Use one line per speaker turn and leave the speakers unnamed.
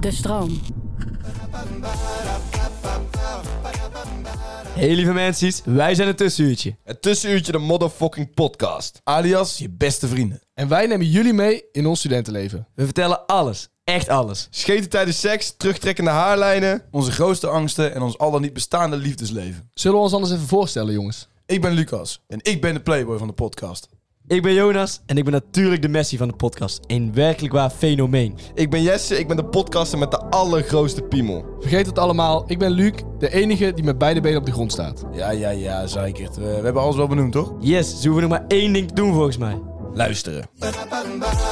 De stroom.
Hey lieve mensen, wij zijn het tussenuurtje.
Het tussenuurtje de motherfucking podcast.
Alias, je beste vrienden. En wij nemen jullie mee in ons studentenleven.
We vertellen alles, echt alles.
Scheten tijdens seks, terugtrekkende haarlijnen.
Onze grootste angsten en ons al dan niet bestaande liefdesleven.
Zullen we ons anders even voorstellen, jongens?
Ik ben Lucas en ik ben de playboy van de podcast.
Ik ben Jonas en ik ben natuurlijk de Messi van de podcast. Een werkelijk waar fenomeen.
Ik ben Jesse, ik ben de podcaster met de allergrootste piemel.
Vergeet het allemaal, ik ben Luc, de enige die met beide benen op de grond staat.
Ja, ja, ja, zeikert. We, we hebben alles wel benoemd, toch?
Yes, zo hoeven we nog maar één ding te doen volgens mij.
Luisteren.